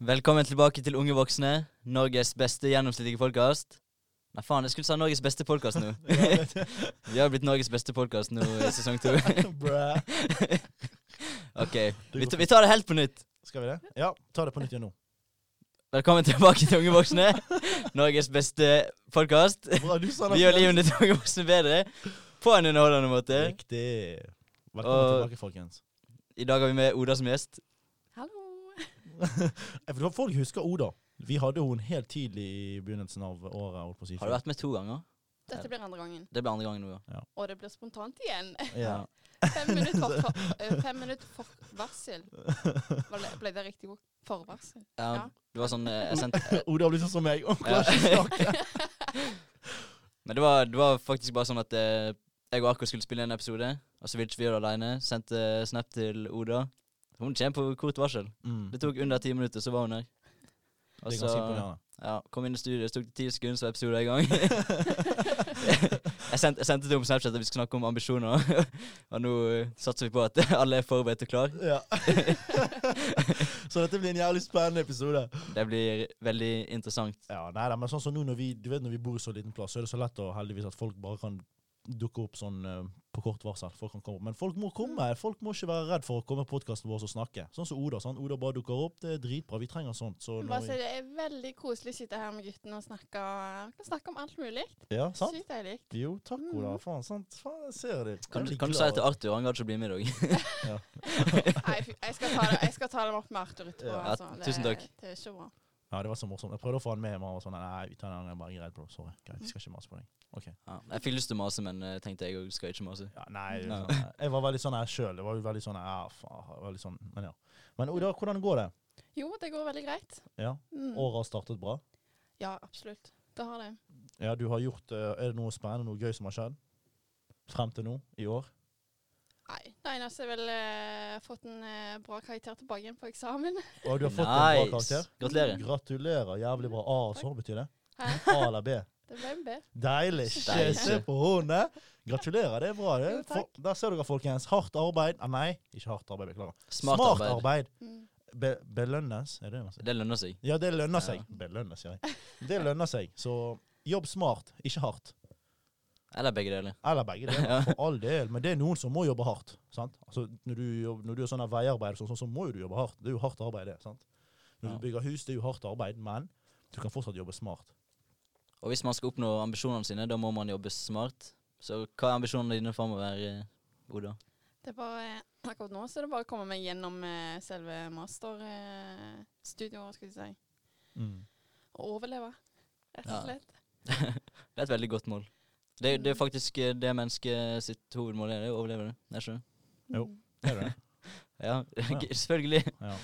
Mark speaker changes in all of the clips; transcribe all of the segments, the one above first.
Speaker 1: Velkommen tilbake til Unge voksne, Norges beste gjennomsnittlige podkast. Nei, faen, jeg skulle sa Norges beste podkast nå. Vi har blitt Norges beste podkast nå i sesong to.
Speaker 2: Bra.
Speaker 1: OK, vi, vi tar det helt på nytt.
Speaker 2: Skal vi det? Ja, ta det på nytt igjen nå.
Speaker 1: Velkommen tilbake til Unge voksne, Norges beste podkast.
Speaker 2: Bra, du sa det
Speaker 1: Vi gjør
Speaker 2: først.
Speaker 1: livet til unge voksne bedre på en underholdende måte.
Speaker 2: Riktig. Velkommen
Speaker 1: Og-
Speaker 2: tilbake, folkens.
Speaker 1: I dag har vi med Oda som gjest.
Speaker 3: Hallo.
Speaker 2: Eh, For Folk husker Oda. Vi hadde hun helt tidlig i begynnelsen av året. holdt på å si.
Speaker 1: Har du vært med to ganger?
Speaker 3: Dette blir andre gangen,
Speaker 1: Det ble andre gangen nå, ja.
Speaker 3: og det blir spontant igjen.
Speaker 2: Ja.
Speaker 3: Fem minutter for, for, eh, fem minutter for varsel. Var det- Ble det riktig ord? Forvarsel?
Speaker 1: ja.
Speaker 3: Ja.
Speaker 1: Det var sånn eh, jeg sendte
Speaker 2: Oda har blitt sånn som meg. Hun
Speaker 1: Ja.
Speaker 2: klarer ikke å snakke.
Speaker 1: Men det var, det var faktisk bare sånn at eh, jeg og Akko skulle spille en episode, og så ville ikke vi gjøre det aleine. Sendte eh, snap til Oda. Hun kommer på kort varsel.
Speaker 2: Mm.
Speaker 1: Det tok under ti minutter, så var hun her. Og
Speaker 2: Det er
Speaker 1: så
Speaker 2: ganske imponerende.
Speaker 1: ja, kom inn i studio, så tok det ti sekunder, så var episoden i gang. jeg, sendte, jeg sendte til henne på Snapchat at vi skulle snakke om ambisjoner, og nå eh, satser vi på at alle er forberedt og klar.
Speaker 2: Ja. så dette blir en jævlig spennende episode.
Speaker 1: Det blir veldig interessant.
Speaker 2: Ja, nei, nei, men sånn som nå når vi, du vet, når vi bor i så liten plass, så er det så lett å heldigvis at folk bare kan dukke opp sånn eh, på kort varsel. Folk kan komme. Men folk må komme. Folk må ikke være redd for å komme på podkasten vår og snakke. Sånn som Oda. sant? Oda bare dukker opp. Det er dritbra. Vi trenger sånt. Så når
Speaker 3: Bare si
Speaker 2: vi,
Speaker 3: det er veldig koselig å sitte her med guttene og snakke, og- kan snakke om alt mulig.
Speaker 2: ja, sant?
Speaker 3: Sykt deilig.
Speaker 2: Jo, takk, Oda.
Speaker 3: Mhm.
Speaker 2: Faen, sant? Faen, jeg ser det.
Speaker 1: Kan, du-
Speaker 2: Jeg blir
Speaker 1: kan du si
Speaker 2: glad.
Speaker 1: det til Arthur? Han gadd ikke å bli med i dag.
Speaker 3: Nei, fy- jeg skal ta det, jeg skal ta det opp med Arthur etterpå.
Speaker 1: Ja,
Speaker 3: altså.
Speaker 1: tusen takk.
Speaker 3: Det, det er ikke bra.
Speaker 2: Ja, det var så morsomt. Jeg prøvde å få han med, men han var sånn Nei, vi tar den andre. Jeg er bare greit, bro. Sorry. Greit, jeg skal ikke mase på deg.
Speaker 1: Ja, jeg fikk lyst til å mase, men eh, tenkte jeg òg skal ikke mase.
Speaker 2: Ja, nei, det er
Speaker 1: Nei.
Speaker 2: sånn, jeg var veldig sånn her sjøl. Det var jo veldig sånn Ja, faen. jeg var litt sånn, Men ja. Men Oda, hvordan går det?
Speaker 3: Jo, det går veldig greit.
Speaker 2: Ja,
Speaker 3: Mm.
Speaker 2: Året har startet bra?
Speaker 3: Ja, absolutt. Det har det.
Speaker 2: Ja, du har gjort eh, Er det noe spennende, noe gøy som har skjedd? Frem til nå, i år?
Speaker 3: Nei, det eneste er vel eh, fått en eh, bra karakter tilbake igjen på eksamen.
Speaker 2: Og du har fått en bra
Speaker 1: Nice!
Speaker 2: karakter?
Speaker 1: Gratulerer.
Speaker 2: Gratulerer. Jævlig bra. A og så betyr det?
Speaker 3: Hæ?
Speaker 2: A eller B?
Speaker 3: Det ble en B.
Speaker 2: Deilig. Ikke
Speaker 1: Deilig.
Speaker 2: se på henne! Gratulerer, det er bra. det.
Speaker 3: Jo, takk.
Speaker 2: For, der ser dere, folkens. Hardt arbeid ah, Nei, ikke hardt arbeid, beklager.
Speaker 1: Smart, arbeid.
Speaker 3: Mm.
Speaker 2: Be belønnes, er det det man sier?
Speaker 1: Det lønner seg.
Speaker 2: Ja, det
Speaker 1: Ja.
Speaker 2: lønner seg. Belønnes, sier jeg. Det lønner seg. Så jobb smart, ikke hardt.
Speaker 1: Eller begge deler.
Speaker 2: Eller begge
Speaker 1: Ja.
Speaker 2: deler, for all del. Men det er noen som må jobbe hardt. sant? Altså, Når du, jobb- når du gjør sånne veiarbeid, sånn, sånn, så må jo du jobbe hardt. Det er jo hardt arbeid, det. sant? Når
Speaker 1: Ja.
Speaker 2: du bygger hus, det er jo hardt arbeid, men du kan fortsatt jobbe smart.
Speaker 1: Og hvis man skal oppnå ambisjonene sine, da må man jobbe smart. Så hva er ambisjonene dine framover, Oda?
Speaker 3: Det er bare, akkurat nå så er det bare å komme meg gjennom eh, selve masterstudioet, skal vi si.
Speaker 2: Mm.
Speaker 3: Og overleve, rett
Speaker 1: Ja.
Speaker 3: og slett.
Speaker 1: Det er et veldig godt mål. Det, det er faktisk eh, det mennesket sitt hovedmål er, det er å overleve det. Er ikke det?
Speaker 2: Jo.
Speaker 3: Mm.
Speaker 2: Er det det?
Speaker 1: Ja, selvfølgelig.
Speaker 2: Ja.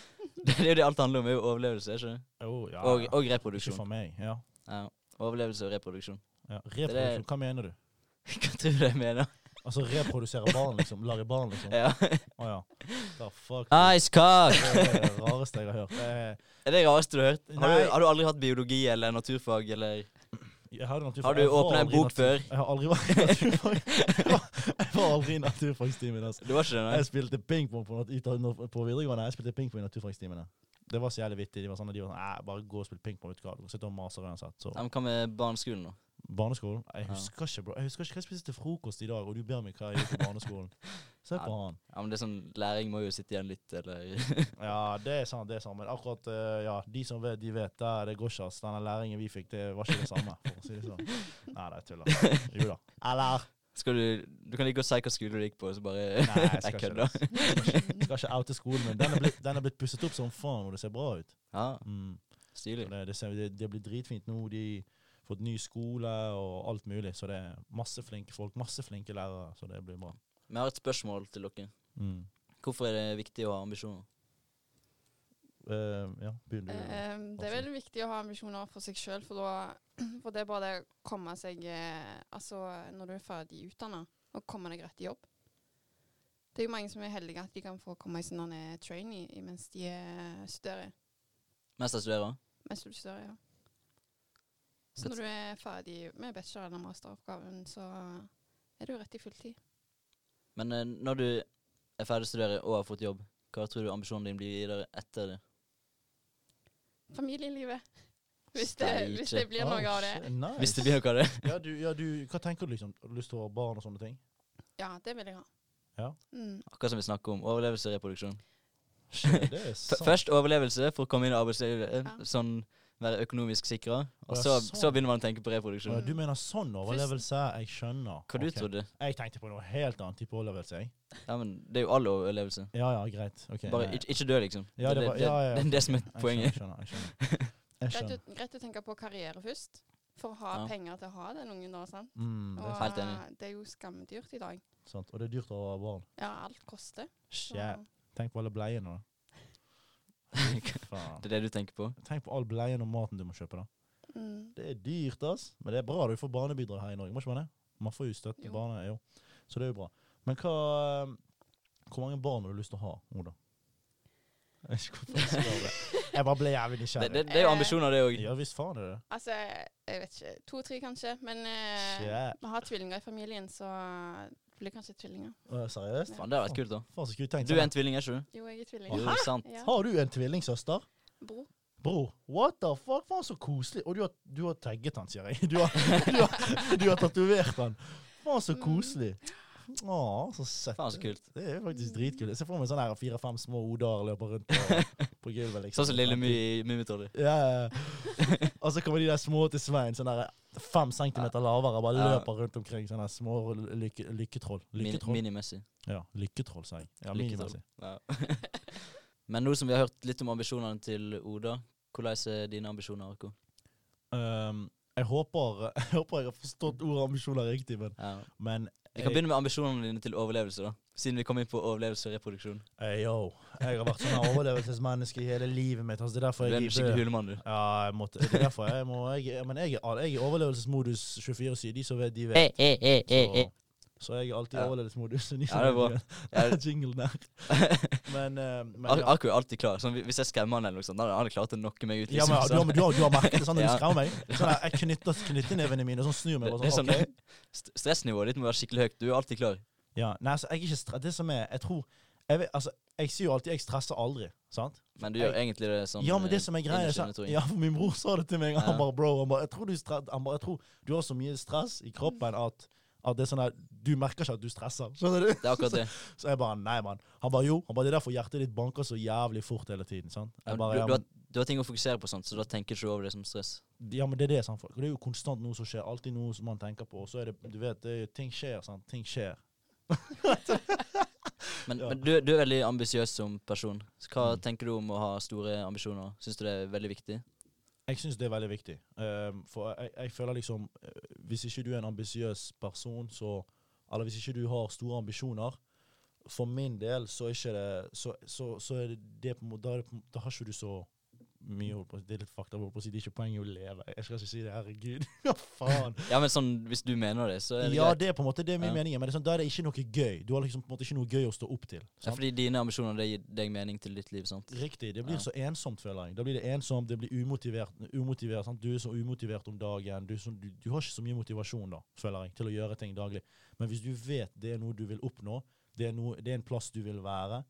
Speaker 1: Det er jo det alt handler om, er jo overlevelse, er ikke det?
Speaker 2: Jo, ja.
Speaker 1: Og, og
Speaker 2: ikke
Speaker 1: reproduksjon.
Speaker 2: for meg. Ja.
Speaker 1: Ja. Overlevelse og reproduksjon.
Speaker 2: ja. Reproduksjon, hva mener du?
Speaker 1: Hva tror du jeg mener?
Speaker 2: Altså reprodusere barn, liksom. Lage barn, liksom.
Speaker 1: Ja.
Speaker 2: Å ja. The fuck?
Speaker 1: Nice cock!
Speaker 2: Det er det rareste jeg har hørt. Eh,
Speaker 1: Er det rareste du har hørt? Har du,
Speaker 2: Nei.
Speaker 1: har du aldri hatt biologi eller naturfag eller
Speaker 2: Jeg hadde naturfag-
Speaker 1: Har du
Speaker 2: jeg var
Speaker 1: åpnet en
Speaker 2: aldri
Speaker 1: bok
Speaker 2: natu-
Speaker 1: før?
Speaker 2: Jeg har aldri vært i naturfag. Jeg var aldri i naturfagstimen. Altså.
Speaker 1: Du var ikke det, nei?
Speaker 2: Jeg spilte pingpong på, nat- i- når- på videregående. Jeg spilte pingpong i naturfagstimene. Det var så jævlig vittig. De var sånn, de var sånn "Æ, bare gå og spille pingpong. Vet du hva, du kan sitte og mase uansett. Så
Speaker 1: Nei, men Hva med barneskolen, da?
Speaker 2: barneskolen Jeg
Speaker 1: Ja.
Speaker 2: husker ikke, bro. Jeg husker ikke hva jeg spiste til frokost i dag, og du ber meg hva jeg gjorde på barneskolen. Se
Speaker 1: Ja.
Speaker 2: på han.
Speaker 1: Ja, men det er sånn, Læring må jo sitte igjen litt, eller
Speaker 2: Ja, det er sant, det er sant. Men akkurat eh, ja, de som vet, de vet. Der, det går ikke, ass. Denne læringen vi fikk, det var ikke det samme, for å si det sånn. Nei, det er tull. da. Jo da. Eller
Speaker 1: Skal du Du kan like godt si hva skole du gikk på, så bare
Speaker 2: Nei, jeg skal
Speaker 1: Jeg
Speaker 2: ikke
Speaker 1: kødder.
Speaker 2: det. Jeg skal ikke- skal ikke oute skolen, men den er blitt, den er blitt pusset opp som faen, og det ser bra ut.
Speaker 1: Ja,
Speaker 2: Mm.
Speaker 1: stilig.
Speaker 2: Det, det, ser, det, det blir dritfint nå. De har fått ny skole og alt mulig, så det er masse flinke folk, masse flinke lærere, så det blir bra.
Speaker 1: Vi har et spørsmål til dere.
Speaker 2: Mm.
Speaker 1: Hvorfor er det viktig å ha ambisjoner?
Speaker 2: Eh, ja, begynn du.
Speaker 3: Eh, det er veldig viktig å ha ambisjoner for seg sjøl, for, da- for det er bare det å komme seg eh, Altså, når du er ferdig utdanna, å komme deg rett i jobb. Det er jo mange som er heldige at de kan få komme i sånn eh, trainee mens de eh, studerer.
Speaker 1: Mens jeg studerer?
Speaker 3: Mens du studerer, ja. Så når du er ferdig med bachelor- eller masteroppgaven, så er du rett i fulltid.
Speaker 1: Men eh, når du er ferdig å studere og har fått jobb, hva tror du ambisjonen din blir videre etter det?
Speaker 3: familielivet. Hvis det, hvis det
Speaker 1: Steike.
Speaker 3: blir noe av det.
Speaker 2: Ah, shit, nice.
Speaker 1: Hvis det blir noe av det.
Speaker 2: ja, du, ja, du, hva tenker du liksom? Har du lyst til å ha barn og sånne ting?
Speaker 3: Ja, det vil jeg ha.
Speaker 2: Ja.
Speaker 3: Mm.
Speaker 1: Akkurat som vi snakker om. Overlevelse og reproduksjon.
Speaker 2: Shit, det er
Speaker 1: F-
Speaker 2: sant.
Speaker 1: Først overlevelse for å komme inn i arbeidslivet, eh,
Speaker 3: Sånn. Ja.
Speaker 1: sånn være økonomisk sikra. Og
Speaker 2: Ja,
Speaker 1: så,
Speaker 2: sånn.
Speaker 1: så begynner man å tenke på
Speaker 2: Å, ja,
Speaker 1: reproduksjon.
Speaker 2: du mener sånn overlevelse? Jeg skjønner.
Speaker 1: Hva du
Speaker 2: Ok.
Speaker 1: trodde?
Speaker 2: Jeg tenkte på noe helt annet type overlevelse, jeg.
Speaker 1: Ja, men det er jo all overlevelse.
Speaker 2: Ja, ja, greit. Ok,
Speaker 1: Bare
Speaker 2: nei.
Speaker 1: ikke, ikke dø, liksom.
Speaker 2: Ja, det
Speaker 1: det,
Speaker 2: var- ja, ja,
Speaker 1: det, det er det som er
Speaker 2: Jeg
Speaker 1: poenget.
Speaker 2: skjønner, Jeg skjønner. Jeg skjønner. Jeg
Speaker 3: Greit,
Speaker 2: skjønner.
Speaker 3: å- greit å tenke på karriere først, for å ha
Speaker 1: Ja.
Speaker 3: penger til å ha den ungen da. sant?
Speaker 2: Mm, det,
Speaker 3: Og
Speaker 2: er
Speaker 1: Helt enig.
Speaker 3: eh, det er jo skamdyrt i dag.
Speaker 2: sant. Og det er dyrt å ha barn.
Speaker 3: Ja, alt koster. så-
Speaker 2: Shit. Tenk på alle bleiene, da. Fy Faen.
Speaker 1: Det er det du tenker på?
Speaker 2: Tenk på all bleien og maten du må kjøpe, da.
Speaker 3: Mm.
Speaker 2: Det er dyrt, ass. Men det er bra du får barnebidrag her i Norge, må ikke man det? Man får jo støtte til
Speaker 3: Jo.
Speaker 2: barne, jo. Så det er jo bra. Men hva eh, Hvor mange barn har du lyst til å ha, Oda? Jeg vet ikke hvorfor jeg spør det. Jeg bare ble jævlig
Speaker 1: Det,
Speaker 2: nysgjerrig.
Speaker 1: det, det er
Speaker 3: Eh,
Speaker 1: jo ambisjoner, det òg.
Speaker 2: Ja visst faen er det det.
Speaker 3: Altså, jeg vet ikke. To-tre, kanskje. Men eh,
Speaker 2: Shit.
Speaker 3: vi har tvillinger i familien, så det blir kanskje tvillinger.
Speaker 2: Å, Seriøst?
Speaker 1: Faen, det hadde vært kult, da.
Speaker 2: Faen, så skulle du tenkt
Speaker 1: Du er
Speaker 2: sånn.
Speaker 1: en tvilling, er ikke du?
Speaker 3: Jo, jeg er tvilling.
Speaker 1: Jo, sant.
Speaker 3: Ja.
Speaker 2: Har du en tvillingsøster?
Speaker 3: Bror.
Speaker 2: Bror, what the fuck? Faen, så koselig. Og du har, du har tagget han, sier jeg. Du har, du har, du har tatovert han. Faen, så koselig. Å, så søtt.
Speaker 1: Faen, så kult.
Speaker 2: Det er faktisk dritkult. Jeg ser for meg sånne her fire-fem små odar løper rundt på, på gulvet. liksom.
Speaker 1: Sånn som Lille My i Mummitrollet.
Speaker 2: Ja, ja, ja. Og så kommer de der små til Svein, sånn der fem centimeter lavere, bare
Speaker 1: Ja.
Speaker 2: løper rundt omkring. Sånne her små lykke, lykketroll.
Speaker 1: Min-
Speaker 2: Lykketroll,
Speaker 1: Minimessig.
Speaker 2: ja, lykketroll, sier jeg. Ja,
Speaker 1: Lykketroll.
Speaker 2: minimessig.
Speaker 1: Ja. Men nå som vi har hørt litt om ambisjonene til Oda, hvordan er dine ambisjoner, Arko?
Speaker 2: Um, jeg, håper, jeg håper jeg har forstått ordet ambisjoner riktig, men,
Speaker 1: Ja.
Speaker 2: men
Speaker 1: Vi
Speaker 2: jeg-
Speaker 1: kan begynne med ambisjonene dine til overlevelse, da. Siden vi kom inn på overlevelse og reproduksjon.
Speaker 2: Hey, eh, yo. Jeg har vært sånn her overlevelsesmenneske i hele livet mitt. Altså, det er
Speaker 1: Du
Speaker 2: derfor
Speaker 1: er
Speaker 2: jeg
Speaker 1: en
Speaker 2: i
Speaker 1: skikkelig
Speaker 2: bø-
Speaker 1: hulemann, du.
Speaker 2: Ja, jeg måtte, det er derfor jeg må jeg, Men jeg, er- jeg er i overlevelsesmodus 24-7. De som vet, de vet. Så, så jeg er alltid i
Speaker 1: Eh, Ja.
Speaker 2: overlevelsesmodus. De som
Speaker 1: Ja, det er bra.
Speaker 2: vet,
Speaker 1: Ja,
Speaker 2: de vet. Jingle der. Men, eh, men
Speaker 1: Ar
Speaker 2: ja.
Speaker 1: Arko er alltid klar. Sånn, hvis jeg skremmer han eller noe sånt, da hadde han klart å nokke meg ut.
Speaker 2: Ja, men, du, har,
Speaker 1: sånn.
Speaker 2: du, har, du har merket det sånn når du
Speaker 1: Ja.
Speaker 2: skremmer meg? Sånn der, Jeg knytter knyttenevene mine og sånn snur meg.
Speaker 1: Det,
Speaker 2: Og
Speaker 1: det er
Speaker 2: sånn,
Speaker 1: sånn,
Speaker 2: ok.
Speaker 1: st- Stressnivået ditt må være skikkelig høyt. Du er alltid klar.
Speaker 2: ja. Nei, altså, jeg er ikke stre- Det som er Jeg tror Jeg, vet, altså, jeg sier jo alltid 'jeg stresser aldri'. sant?
Speaker 1: Men du gjør egentlig det sånn
Speaker 2: ja, men det som er
Speaker 1: eh,
Speaker 2: greia er
Speaker 1: innerst
Speaker 2: sånn-
Speaker 1: inne, tror jeg.
Speaker 2: Ja, for min bror sa det til meg. Han
Speaker 1: Ja.
Speaker 2: bare, bro, han bare, jeg tror du, stre- han bare, jeg tror du har så mye stress i kroppen at, at det er sånn her, du merker ikke at du stresser. Skjønner du?
Speaker 1: Det er akkurat det.
Speaker 2: Så jeg bare, nei, mann. Han bare, jo. Han bare, det er derfor hjertet ditt banker så jævlig fort hele tiden, sant?
Speaker 1: Ja,
Speaker 2: Jeg
Speaker 1: men
Speaker 2: bare,
Speaker 1: du,
Speaker 2: ja,
Speaker 1: du,
Speaker 2: men,
Speaker 1: har, du har ting å fokusere på, sånt, så da tenker du ikke over det som stress.
Speaker 2: ja, men det er det, sant? folk. Det er jo konstant noe som skjer, alltid noe som man tenker på, og så er det, du vet, det, er- ting skjer, sant? Ting skjer.
Speaker 1: Men,
Speaker 2: Ja.
Speaker 1: men du, du er veldig ambisiøs som person. Så hva
Speaker 2: Mm.
Speaker 1: tenker du om å ha store ambisjoner? Syns du det er veldig viktig?
Speaker 2: Jeg synes det er veldig viktig, Ehm, for jeg, jeg føler liksom, eh, hvis ikke du er en ambisiøs person, så, eller hvis ikke du har store ambisjoner, for min del, så er ikke det Så, så, så er det, det på en måte da, er det på en måte- da har ikke du så mye holdt på å si. Det er litt fakta holdt på å si. Det er ikke poenget å leve. Jeg skal ikke si det. Herregud. Hva faen?
Speaker 1: Ja, men sånn, hvis du mener det, så er det
Speaker 2: Ja,
Speaker 1: greit.
Speaker 2: det er på en måte det er min
Speaker 1: Ja.
Speaker 2: mening, men det er sånn, da er det ikke noe gøy. Du har liksom på en måte ikke noe gøy å stå opp til.
Speaker 1: Ja,
Speaker 2: sant?
Speaker 1: fordi dine ambisjoner det gir deg mening til ditt liv, sant?
Speaker 2: Riktig. Det blir
Speaker 1: Ja.
Speaker 2: så ensomt, føler jeg. Da blir det ensomt, det blir umotivert. umotivert sant? Du er så umotivert om dagen. Du, er så, du, du har ikke så mye motivasjon, da, føler jeg, til å gjøre ting daglig. Men hvis du vet det er noe du vil oppnå, det er, noe, det er en plass du vil være,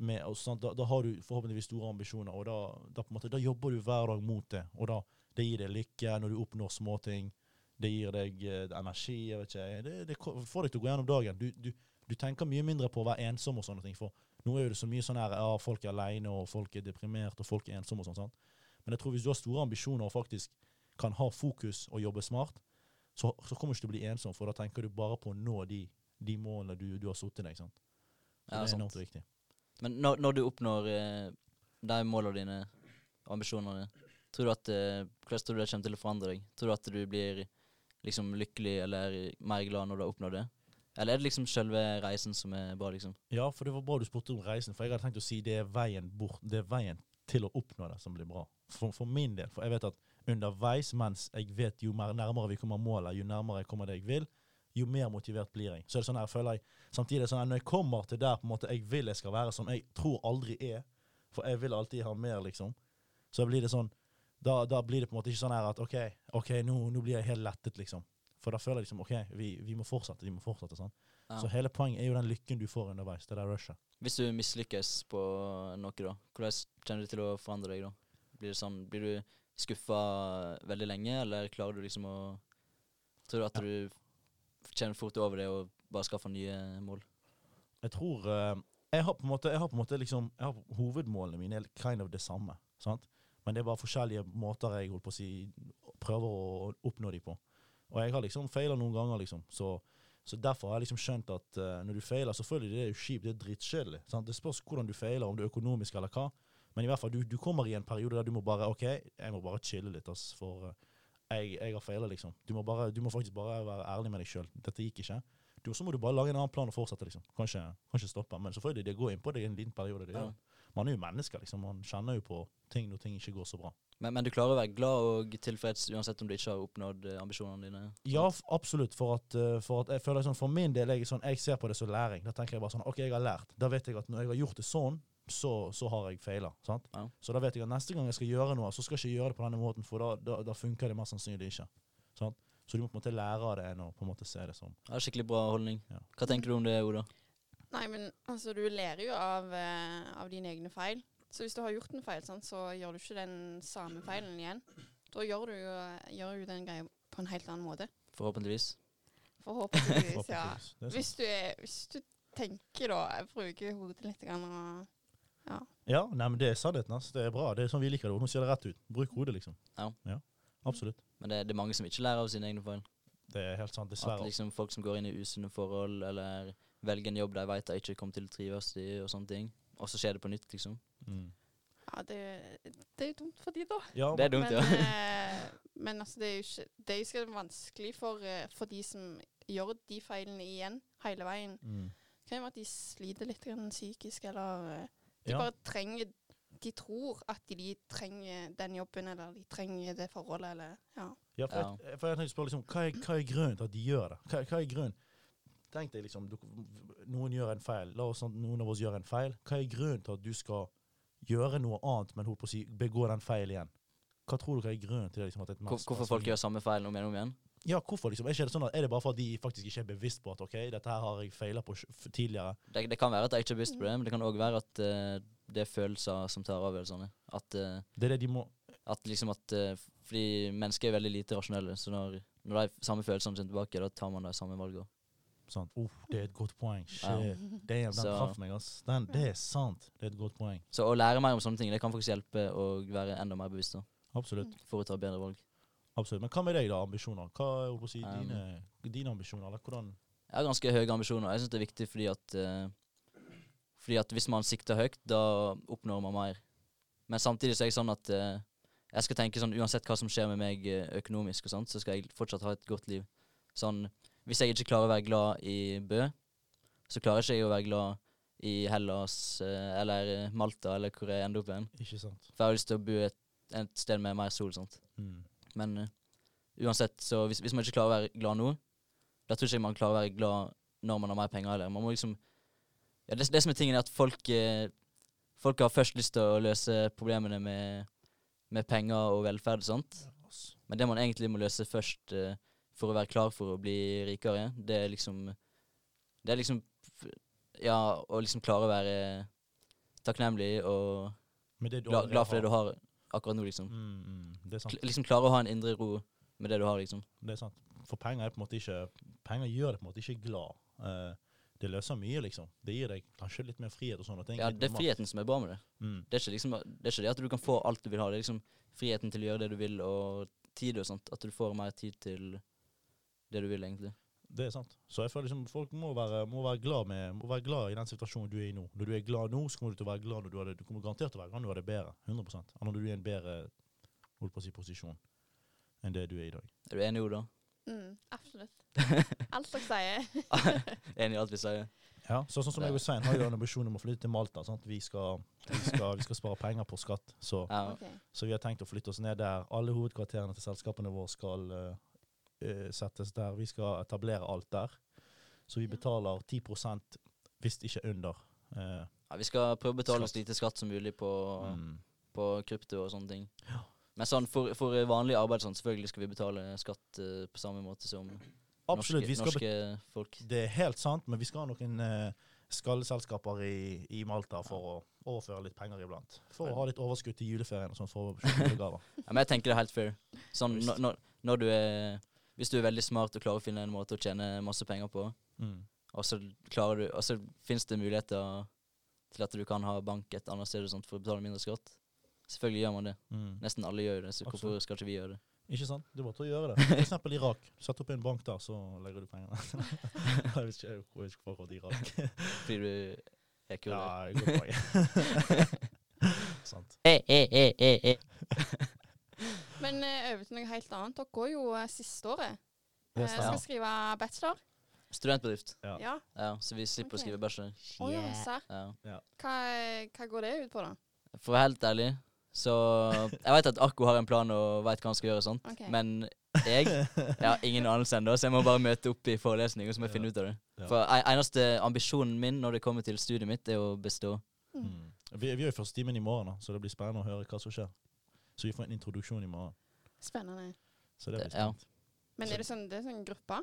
Speaker 2: med, og, sant? Da, da har du forhåpentligvis store ambisjoner, og da, da, på en måte, da jobber du hver dag mot det. Og da det gir deg lykke når du oppnår småting. Det gir deg eh, energi. jeg vet ikke. Det, det ko- får deg til å gå gjennom dagen. Du, du, du tenker mye mindre på å være ensom og sånne ting. for nå er jo det så mye sånn her ja, folk er aleine, og folk er deprimert, og folk er ensomme og sånn. sant? Men jeg tror hvis du har store ambisjoner og faktisk kan ha fokus og jobbe smart, så, så kommer du ikke til å bli ensom, for da tenker du bare på å nå de, de målene du, du har satt deg. sant? Så
Speaker 1: Ja,
Speaker 2: det er
Speaker 1: sant.
Speaker 2: enormt viktig.
Speaker 1: Men når, når du oppnår eh, de målene dine, ambisjonene, tror du at eh, hvordan tror du det kommer til å forandre deg? Tror du at du blir liksom lykkelig eller mer glad når du har oppnådd det? Eller er det liksom selve reisen som er bra, liksom?
Speaker 2: Ja, for det var bra du spurte om reisen, for jeg hadde tenkt å si det er veien bort, det er veien til å oppnå det som blir bra. For, for min del, for jeg vet at underveis, mens jeg vet jo mer nærmere vi kommer målet, jo nærmere jeg kommer det jeg vil, jo mer motivert blir jeg. Så er det sånn her, føler jeg, samtidig er det sånn her, når jeg kommer til der på en måte jeg vil jeg skal være, som jeg tror aldri er, for jeg vil alltid ha mer, liksom, så blir det sånn, da, da blir det på en måte ikke sånn her at, ok, ok, nå, nå blir jeg helt lettet, liksom. For da føler jeg liksom, ok, vi, vi må fortsette, vi må fortsette, sant?
Speaker 1: Ja.
Speaker 2: Så hele poenget er jo den lykken du får underveis, det der rushet.
Speaker 1: Hvis du mislykkes på noe, da, hvordan kommer det til å forandre deg da? Blir, det sånn, blir du skuffa veldig lenge, eller klarer du liksom å Tror du at du kommer fort over det og bare skaffer nye mål?
Speaker 2: Jeg tror eh, jeg, har på en måte, jeg har på en måte liksom jeg har, Hovedmålene mine er kind of det samme. Sant? Men det er bare forskjellige måter jeg holdt på å si, prøver å oppnå de på. Og jeg har liksom feila noen ganger, liksom. Så, så derfor har jeg liksom skjønt at eh, når du feiler, selvfølgelig det er jo kjipt, det er drittkjedelig. sant? Det spørs hvordan du feiler, om det er økonomisk eller hva. Men i hvert fall, du, du kommer i en periode der du må bare OK, jeg må bare chille litt, ass, for eh, jeg, jeg har feila, liksom. Du må, bare, du må faktisk bare være ærlig med deg sjøl. Dette gikk ikke du, så må du bare lage en annen plan og fortsette, liksom. Kanskje, kanskje stoppe. Men selvfølgelig, det går inn på deg i en liten periode. Det gjør.
Speaker 1: Ja.
Speaker 2: det. Man er jo mennesker, liksom. Man kjenner jo på ting når ting ikke går så bra.
Speaker 1: Men, men du klarer å være glad og tilfreds uansett om du ikke har oppnådd eh, ambisjonene dine?
Speaker 2: Ja, f- absolutt. For at, eh, for at jeg føler sånn, for min del jeg, er sånn, jeg ser på det som læring. Da tenker jeg bare sånn OK, jeg har lært. Da vet jeg at når jeg har gjort det sånn, så, så har jeg feila. Sant?
Speaker 1: Ja.
Speaker 2: Så da vet jeg at neste gang jeg skal gjøre noe, så skal jeg ikke gjøre det på denne måten, for da, da, da funker det mest sannsynlig ikke. Sant? Så du må på en måte lære av det enn å på en måte se det som
Speaker 1: Ja, skikkelig bra holdning.
Speaker 2: Ja.
Speaker 1: Hva tenker du om det, Oda?
Speaker 3: Nei, men altså, du lærer jo av, eh, av dine egne feil. Så hvis du har gjort en feil, sant, så gjør du ikke den samme feilen igjen. Da gjør du jo gjør jo den greia på en helt annen måte.
Speaker 1: Forhåpentligvis.
Speaker 3: Forhåpentligvis, ja.
Speaker 2: forhåpentligvis. Det er sant.
Speaker 3: Hvis du, er, hvis du tenker, da, jeg bruker hodet litt grann og
Speaker 2: Ja, nei, men det er sannheten. ass. Det er bra. Det er sånn vi liker det. Og nå sier det rett ut. Bruk hodet, liksom.
Speaker 1: Ja.
Speaker 2: Absolutt.
Speaker 1: Men det, det er mange som ikke lærer av sine egne feil.
Speaker 2: Det er helt sant.
Speaker 1: At
Speaker 2: Dessverre.
Speaker 1: liksom folk som går inn i usunne forhold, eller velger en jobb de vet de ikke kommer til å trives i, og sånne ting. Og så skjer det på nytt, liksom.
Speaker 2: Mm.
Speaker 3: Ja, det, det er jo dumt for de, da.
Speaker 2: Ja,
Speaker 1: Det er dumt,
Speaker 3: Men,
Speaker 1: ja.
Speaker 3: eh, men altså, det er jo ikke, det er jo sikkert vanskelig for, eh, for de som gjør de feilene igjen hele veien.
Speaker 2: mm.
Speaker 3: Det kan jo være at de sliter litt grann psykisk, eller eh, de
Speaker 2: ja.
Speaker 3: bare trenger De tror at de trenger den jobben, eller de trenger det forholdet, eller ja.
Speaker 2: ja, for jeg, for jeg tenkte å spørre, liksom, hva er, hva er grunnen til at de gjør det? Hva, hva er grunnen? Tenk deg liksom, du, noen gjør en feil. La oss sånn, noen av oss gjør en feil. Hva er grunnen til at du skal gjøre noe annet, men holdt på å si, begå den feil igjen? Hva tror dere er grunnen til det? Liksom, at et
Speaker 1: Hvor,
Speaker 2: menneske-
Speaker 1: hvorfor folk gjør samme feilen om igjen og om igjen?
Speaker 2: Ja, hvorfor liksom? Er, ikke det sånn at, er det bare for at de faktisk ikke er bevisst på at ok, dette her har jeg feilet på sj- f- tidligere?
Speaker 1: Det, det kan være at de ikke har bevisst på det, men det kan òg være at eh, det er følelser som tar avgjørelsene. At, eh,
Speaker 2: Det er det de må...
Speaker 1: at liksom at eh, Fordi mennesker er veldig lite rasjonelle, så når, når de samme følelsene kommer tilbake, da tar man de samme valgene.
Speaker 2: Sant. Oh, det er et godt poeng. Shit.
Speaker 1: Ja.
Speaker 2: Damn, den
Speaker 1: Så-
Speaker 2: traff meg, ass. Den, det er sant. Det er et godt poeng.
Speaker 1: Så å lære mer om sånne ting, det kan faktisk hjelpe å være enda mer bevisst da,
Speaker 2: Absolutt.
Speaker 1: for å ta bedre valg.
Speaker 2: Absolutt. Men hva med deg, da? Ambisjoner? Hva er holdt på å si,
Speaker 1: Um,
Speaker 2: dine, dine ambisjoner? Eller hvordan
Speaker 1: Jeg har ganske høye ambisjoner. Jeg syns det er viktig fordi at eh, Fordi at hvis man sikter høyt, da oppnår man mer. Men samtidig så er jeg sånn at eh, jeg skal tenke sånn uansett hva som skjer med meg eh, økonomisk, og sånt, så skal jeg fortsatt ha et godt liv. Sånn, Hvis jeg ikke klarer å være glad i Bø, så klarer ikke jeg å være glad i Hellas eh, eller eh, Malta eller hvor jeg ender opp igjen.
Speaker 2: Ikke sant?
Speaker 1: For jeg har lyst til å bo et, et sted med mer sol. sånn. sånt.
Speaker 2: Mm.
Speaker 1: Men eh, uansett, så hvis, hvis man ikke klarer å være glad nå, da tror ikke jeg man klarer å være glad når man har mer penger heller. Man må liksom ja, det, det som er tingen, er at folk eh, Folk har først lyst til å løse problemene med, med penger og velferd og sånt,
Speaker 2: ass.
Speaker 1: men det man egentlig må løse først eh, for å være klar for å bli rikere, det er liksom Det er liksom Ja, å liksom klare å være takknemlig og
Speaker 2: Men det du
Speaker 1: glad,
Speaker 2: allerede
Speaker 1: glad for det du har akkurat nå, liksom.
Speaker 2: Mm, mm. Det er sant.
Speaker 1: Kl- liksom klare å ha en indre ro med det du har, liksom.
Speaker 2: Det er sant. For penger er på en måte ikke Penger gjør deg på en måte ikke glad. Eh, det løser mye, liksom. Det gir deg kanskje litt mer frihet og sånne ting.
Speaker 1: Ja,
Speaker 2: Litt
Speaker 1: det er
Speaker 2: mer makt.
Speaker 1: friheten som er bra med det.
Speaker 2: Mm.
Speaker 1: Det er, ikke liksom, det er ikke det at du kan få alt du vil ha, det er liksom friheten til å gjøre det du vil, og tid og sånt. At du får mer tid til det du vil, egentlig.
Speaker 2: Det er sant. Så jeg føler liksom folk må være, må være, glad, med, må være glad i den situasjonen du er i nå. Når du er glad nå, så kommer du til å være glad når du, har det, du kommer garantert til å være glad når du har det bedre. 100 Og når du er i en bedre holdt på å si, posisjon enn det du er i dag.
Speaker 1: Er du enig, Oda?
Speaker 3: Mm, absolutt. Alt dere sier.
Speaker 1: enig i alt vi sier?
Speaker 2: Ja, så Sånn som
Speaker 1: Det-
Speaker 2: jeg og Svein har jo en ambisjon om å flytte til Malta. Sant? Vi, skal, vi, skal, vi skal spare penger på skatt. Så,
Speaker 1: Ja.
Speaker 3: Ok.
Speaker 2: så vi har tenkt å flytte oss ned der. Alle hovedkvarterene til selskapene våre skal eh, eh, settes der. Vi skal etablere alt der. Så vi
Speaker 3: Ja.
Speaker 2: betaler 10 hvis ikke under. eh,
Speaker 1: ja, vi skal prøve å betale så lite skatt som mulig på,
Speaker 2: mm.
Speaker 1: på krypto og sånne ting. Men sånn, for, for vanlig arbeid sånn, selvfølgelig skal vi betale skatt eh, på samme måte som
Speaker 2: Absolutt.
Speaker 1: norske,
Speaker 2: Vi skal
Speaker 1: norske folk.
Speaker 2: bet- det er helt sant, men vi skal ha noen eh, skallselskaper i, i Malta for å overføre litt penger iblant. For å ha litt overskudd til juleferien og sånn for å kjøpe julegaver.
Speaker 1: Ja, men jeg tenker det er helt fair. Sånn,
Speaker 2: Visst.
Speaker 1: når, når, når du er, hvis du er veldig smart og klarer å finne en måte å tjene masse penger på,
Speaker 2: Mm.
Speaker 1: og så, klarer du, og så finnes det muligheter til at du kan ha bank et annet sted og sånt for å betale mindre skatt. Selvfølgelig gjør man det.
Speaker 2: Mm.
Speaker 1: Nesten alle gjør jo det, så hvorfor
Speaker 2: Absolutt.
Speaker 1: skal ikke vi gjøre det?
Speaker 2: Ikke sant? Det er bare til å gjøre det. For eksempel Irak. Sett opp en bank der, så legger du pengene. jeg vet ikke jeg vet ikke hvorfor det er Irak.
Speaker 1: Fordi du er kul.
Speaker 2: Ja,
Speaker 1: Ja.
Speaker 2: godt poeng. sant.
Speaker 1: Eh, eh, eh, eh, eh.
Speaker 3: Men eh, over til noe helt annet. Dere går jo eh, siste året.
Speaker 2: Det
Speaker 3: Eh, skal
Speaker 2: stemmer.
Speaker 3: skrive bachelor.
Speaker 1: Studentbedrift.
Speaker 2: Ja.
Speaker 3: Ja.
Speaker 1: Ja, så vi slipper
Speaker 3: Ok.
Speaker 1: å skrive bachelor.
Speaker 3: Å ja, serr.
Speaker 1: Ja.
Speaker 3: Hva, hva går det ut på, da?
Speaker 1: For å være helt ærlig, så Jeg vet at Akko har en plan og veit hva han skal gjøre og sånt,
Speaker 3: Ok.
Speaker 1: men jeg Jeg har ingen anelse ennå, så jeg må bare møte opp i forelesning og så må jeg finne ut av det.
Speaker 2: Ja.
Speaker 1: For e- eneste ambisjonen min når det kommer til studiet mitt, er å bestå.
Speaker 2: Mm. Vi, vi er jo i første timen i morgen, da, så det blir spennende å høre hva som skjer. Så vi får en introduksjon i morgen.
Speaker 3: Spennende.
Speaker 2: Så det
Speaker 1: Det-
Speaker 2: blir spennende.
Speaker 3: Men er det sånn, det er sånn gruppa?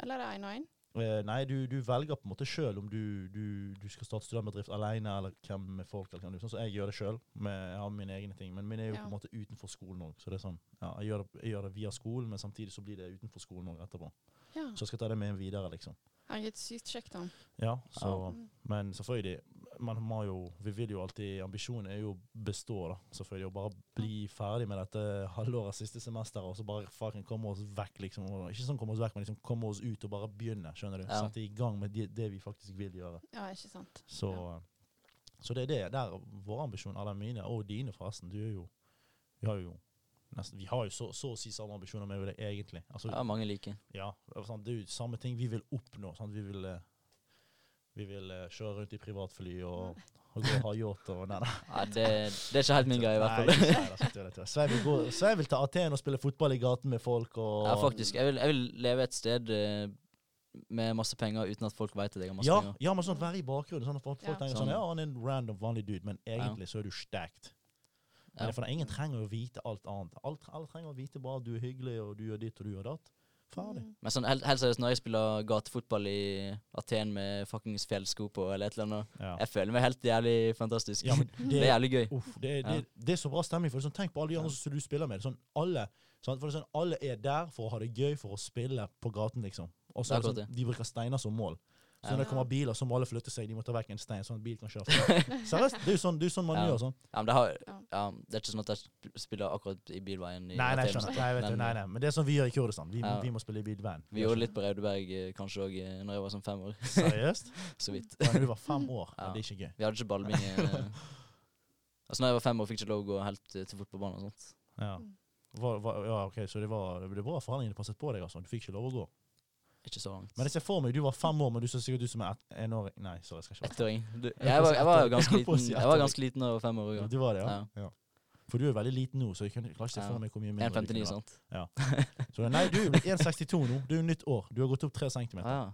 Speaker 3: Eller er det én og én?
Speaker 2: Eh, nei, du, du velger på en måte sjøl om du, du, du skal starte studentbedrift alene eller hvem med folk. eller hvem du, sånn, Så jeg gjør det sjøl. Jeg har mine egne ting. Men min er jo
Speaker 3: Ja.
Speaker 2: på en måte utenfor skolen òg. Så det er sånn, ja, jeg, gjør det- jeg gjør det via skolen, men samtidig så blir det utenfor skolen òg etterpå.
Speaker 3: Ja.
Speaker 2: Så jeg skal ta det med videre, liksom.
Speaker 3: Herregud, sykt kjekt, Mm. da.
Speaker 2: Ja, så,
Speaker 1: Ja.
Speaker 2: Men selvfølgelig, man må jo, vi vil jo alltid Ambisjonen er jo å bestå, da. Selvfølgelig. Og bare bli ferdig med dette halvåret, siste semester, og så bare fucking komme oss vekk, liksom. Og, ikke sånn komme oss vekk, men liksom komme oss ut og bare begynne, skjønner du.
Speaker 1: Ja.
Speaker 2: Sette i gang med det, det vi faktisk vil gjøre.
Speaker 3: Ja, ikke sant.
Speaker 2: Så, så det er det der er vår ambisjon, eller mine, og dine, forresten. Du er jo Vi har jo nesten Vi har jo så, så å si samme ambisjoner med det, egentlig. Altså,
Speaker 1: Ja, mange like.
Speaker 2: ja, det er sant, det er jo samme ting vi vil oppnå. Sant? Vi vil, eh, vi vil eh, kjøre rundt i privatfly og, og gå og ha yacht og Nei, nei.
Speaker 1: Ja, det, det er ikke helt min greie, i hvert fall.
Speaker 2: Nei, ikke Svein, altså, tull, tull. Svein vil, gå, Svein vil til Aten og spille fotball i gaten med folk og
Speaker 1: Ja, faktisk. Jeg vil, jeg vil leve et sted eh, med masse penger uten at folk veit at jeg har masse
Speaker 2: Ja,
Speaker 1: penger.
Speaker 2: ja, men sånn være i bakgrunnen. Sånn at folk
Speaker 3: Ja.
Speaker 2: folk tenker
Speaker 1: Sånn.
Speaker 2: sånn Ja, han er en random, vanlig dude, men egentlig så er du stacked.
Speaker 1: Ja.
Speaker 2: Men For ingen trenger å vite alt annet. Alt, alle trenger å vite bare at du er hyggelig, og du gjør ditt, og du gjør datt. Ferdig.
Speaker 1: Men sånn, helt, helt seriøst, når jeg spiller gatefotball i Aten med fuckings fjellsko på eller et eller annet,
Speaker 2: Ja.
Speaker 1: jeg føler meg helt jævlig fantastisk.
Speaker 2: Ja, men
Speaker 1: det er jævlig gøy.
Speaker 2: Uff, det, er,
Speaker 1: Ja.
Speaker 2: det, det er så bra stemning. For det er sånn, tenk på alle de andre som du spiller med. Sånn, alle, sant? For det er sånn, alle er der for å ha det gøy, for å spille på gaten, liksom. Og så er det
Speaker 1: Akkurat
Speaker 2: sånn, de bruker steiner som mål. Så
Speaker 1: Ja.
Speaker 2: når det kommer biler, så må alle flytte seg. De må ta vekk en stein, sånn at bil kan kjøre frem. Seriøst, det er jo sånn, det er jo sånn man
Speaker 1: Ja.
Speaker 2: gjør. sånn.
Speaker 1: Ja, men det, har,
Speaker 3: Ja.
Speaker 1: ja, det er ikke sånn at jeg sp- spiller akkurat i bilveien. I
Speaker 2: Nei, nei,
Speaker 1: Aten,
Speaker 2: skjønner.
Speaker 1: sånn.
Speaker 2: Nei, vet du,
Speaker 1: Men,
Speaker 2: nei, nei. Men det er sånn vi gjør i Kurdistan. Vi,
Speaker 1: Ja.
Speaker 2: vi må spille i bilvan.
Speaker 1: Vi gjorde litt på Raudeberg eh, kanskje òg når jeg var sånn fem år.
Speaker 2: Seriøst?
Speaker 1: Så vidt.
Speaker 2: Da du var fem år. Ja.
Speaker 1: Ja.
Speaker 2: Det er ikke gøy.
Speaker 1: Vi hadde ikke ballbinge. eh. altså når jeg var fem år, fikk jeg ikke lov å gå helt eh, til fotballbanen og sånt.
Speaker 2: Ja. Hva- hva- ja, ok, Så det var, det var bra forhandlingene passet på deg, altså. Du fikk ikke lov å gå.
Speaker 1: Ikke så langt.
Speaker 2: Men jeg ser for meg, du var fem år, men du ser sikkert ut som en ett- enåring. Nei, sorry, jeg skal ikke
Speaker 1: Ettåring. Du,
Speaker 2: Jeg
Speaker 1: jeg,
Speaker 2: holdt på å
Speaker 1: var,
Speaker 2: si
Speaker 1: jeg var jo
Speaker 2: ettåring.
Speaker 1: ganske
Speaker 2: Jeg holdt på å
Speaker 1: liten
Speaker 2: si
Speaker 1: Jeg var
Speaker 2: ettåring.
Speaker 1: ganske liten da jeg var fem år.
Speaker 2: Ja,
Speaker 1: Ja.
Speaker 2: du var det, ja.
Speaker 1: Ja.
Speaker 2: ja. For du er veldig liten nå, så jeg kan, klarer ikke se
Speaker 1: Ja.
Speaker 2: for meg hvor mye mindre du
Speaker 1: 1,59,
Speaker 2: kunne være.
Speaker 1: sant.
Speaker 2: Så nei, du er blitt 1,62 nå. Du er jo nytt år. Du har gått opp 3 cm.
Speaker 1: Ja, ja.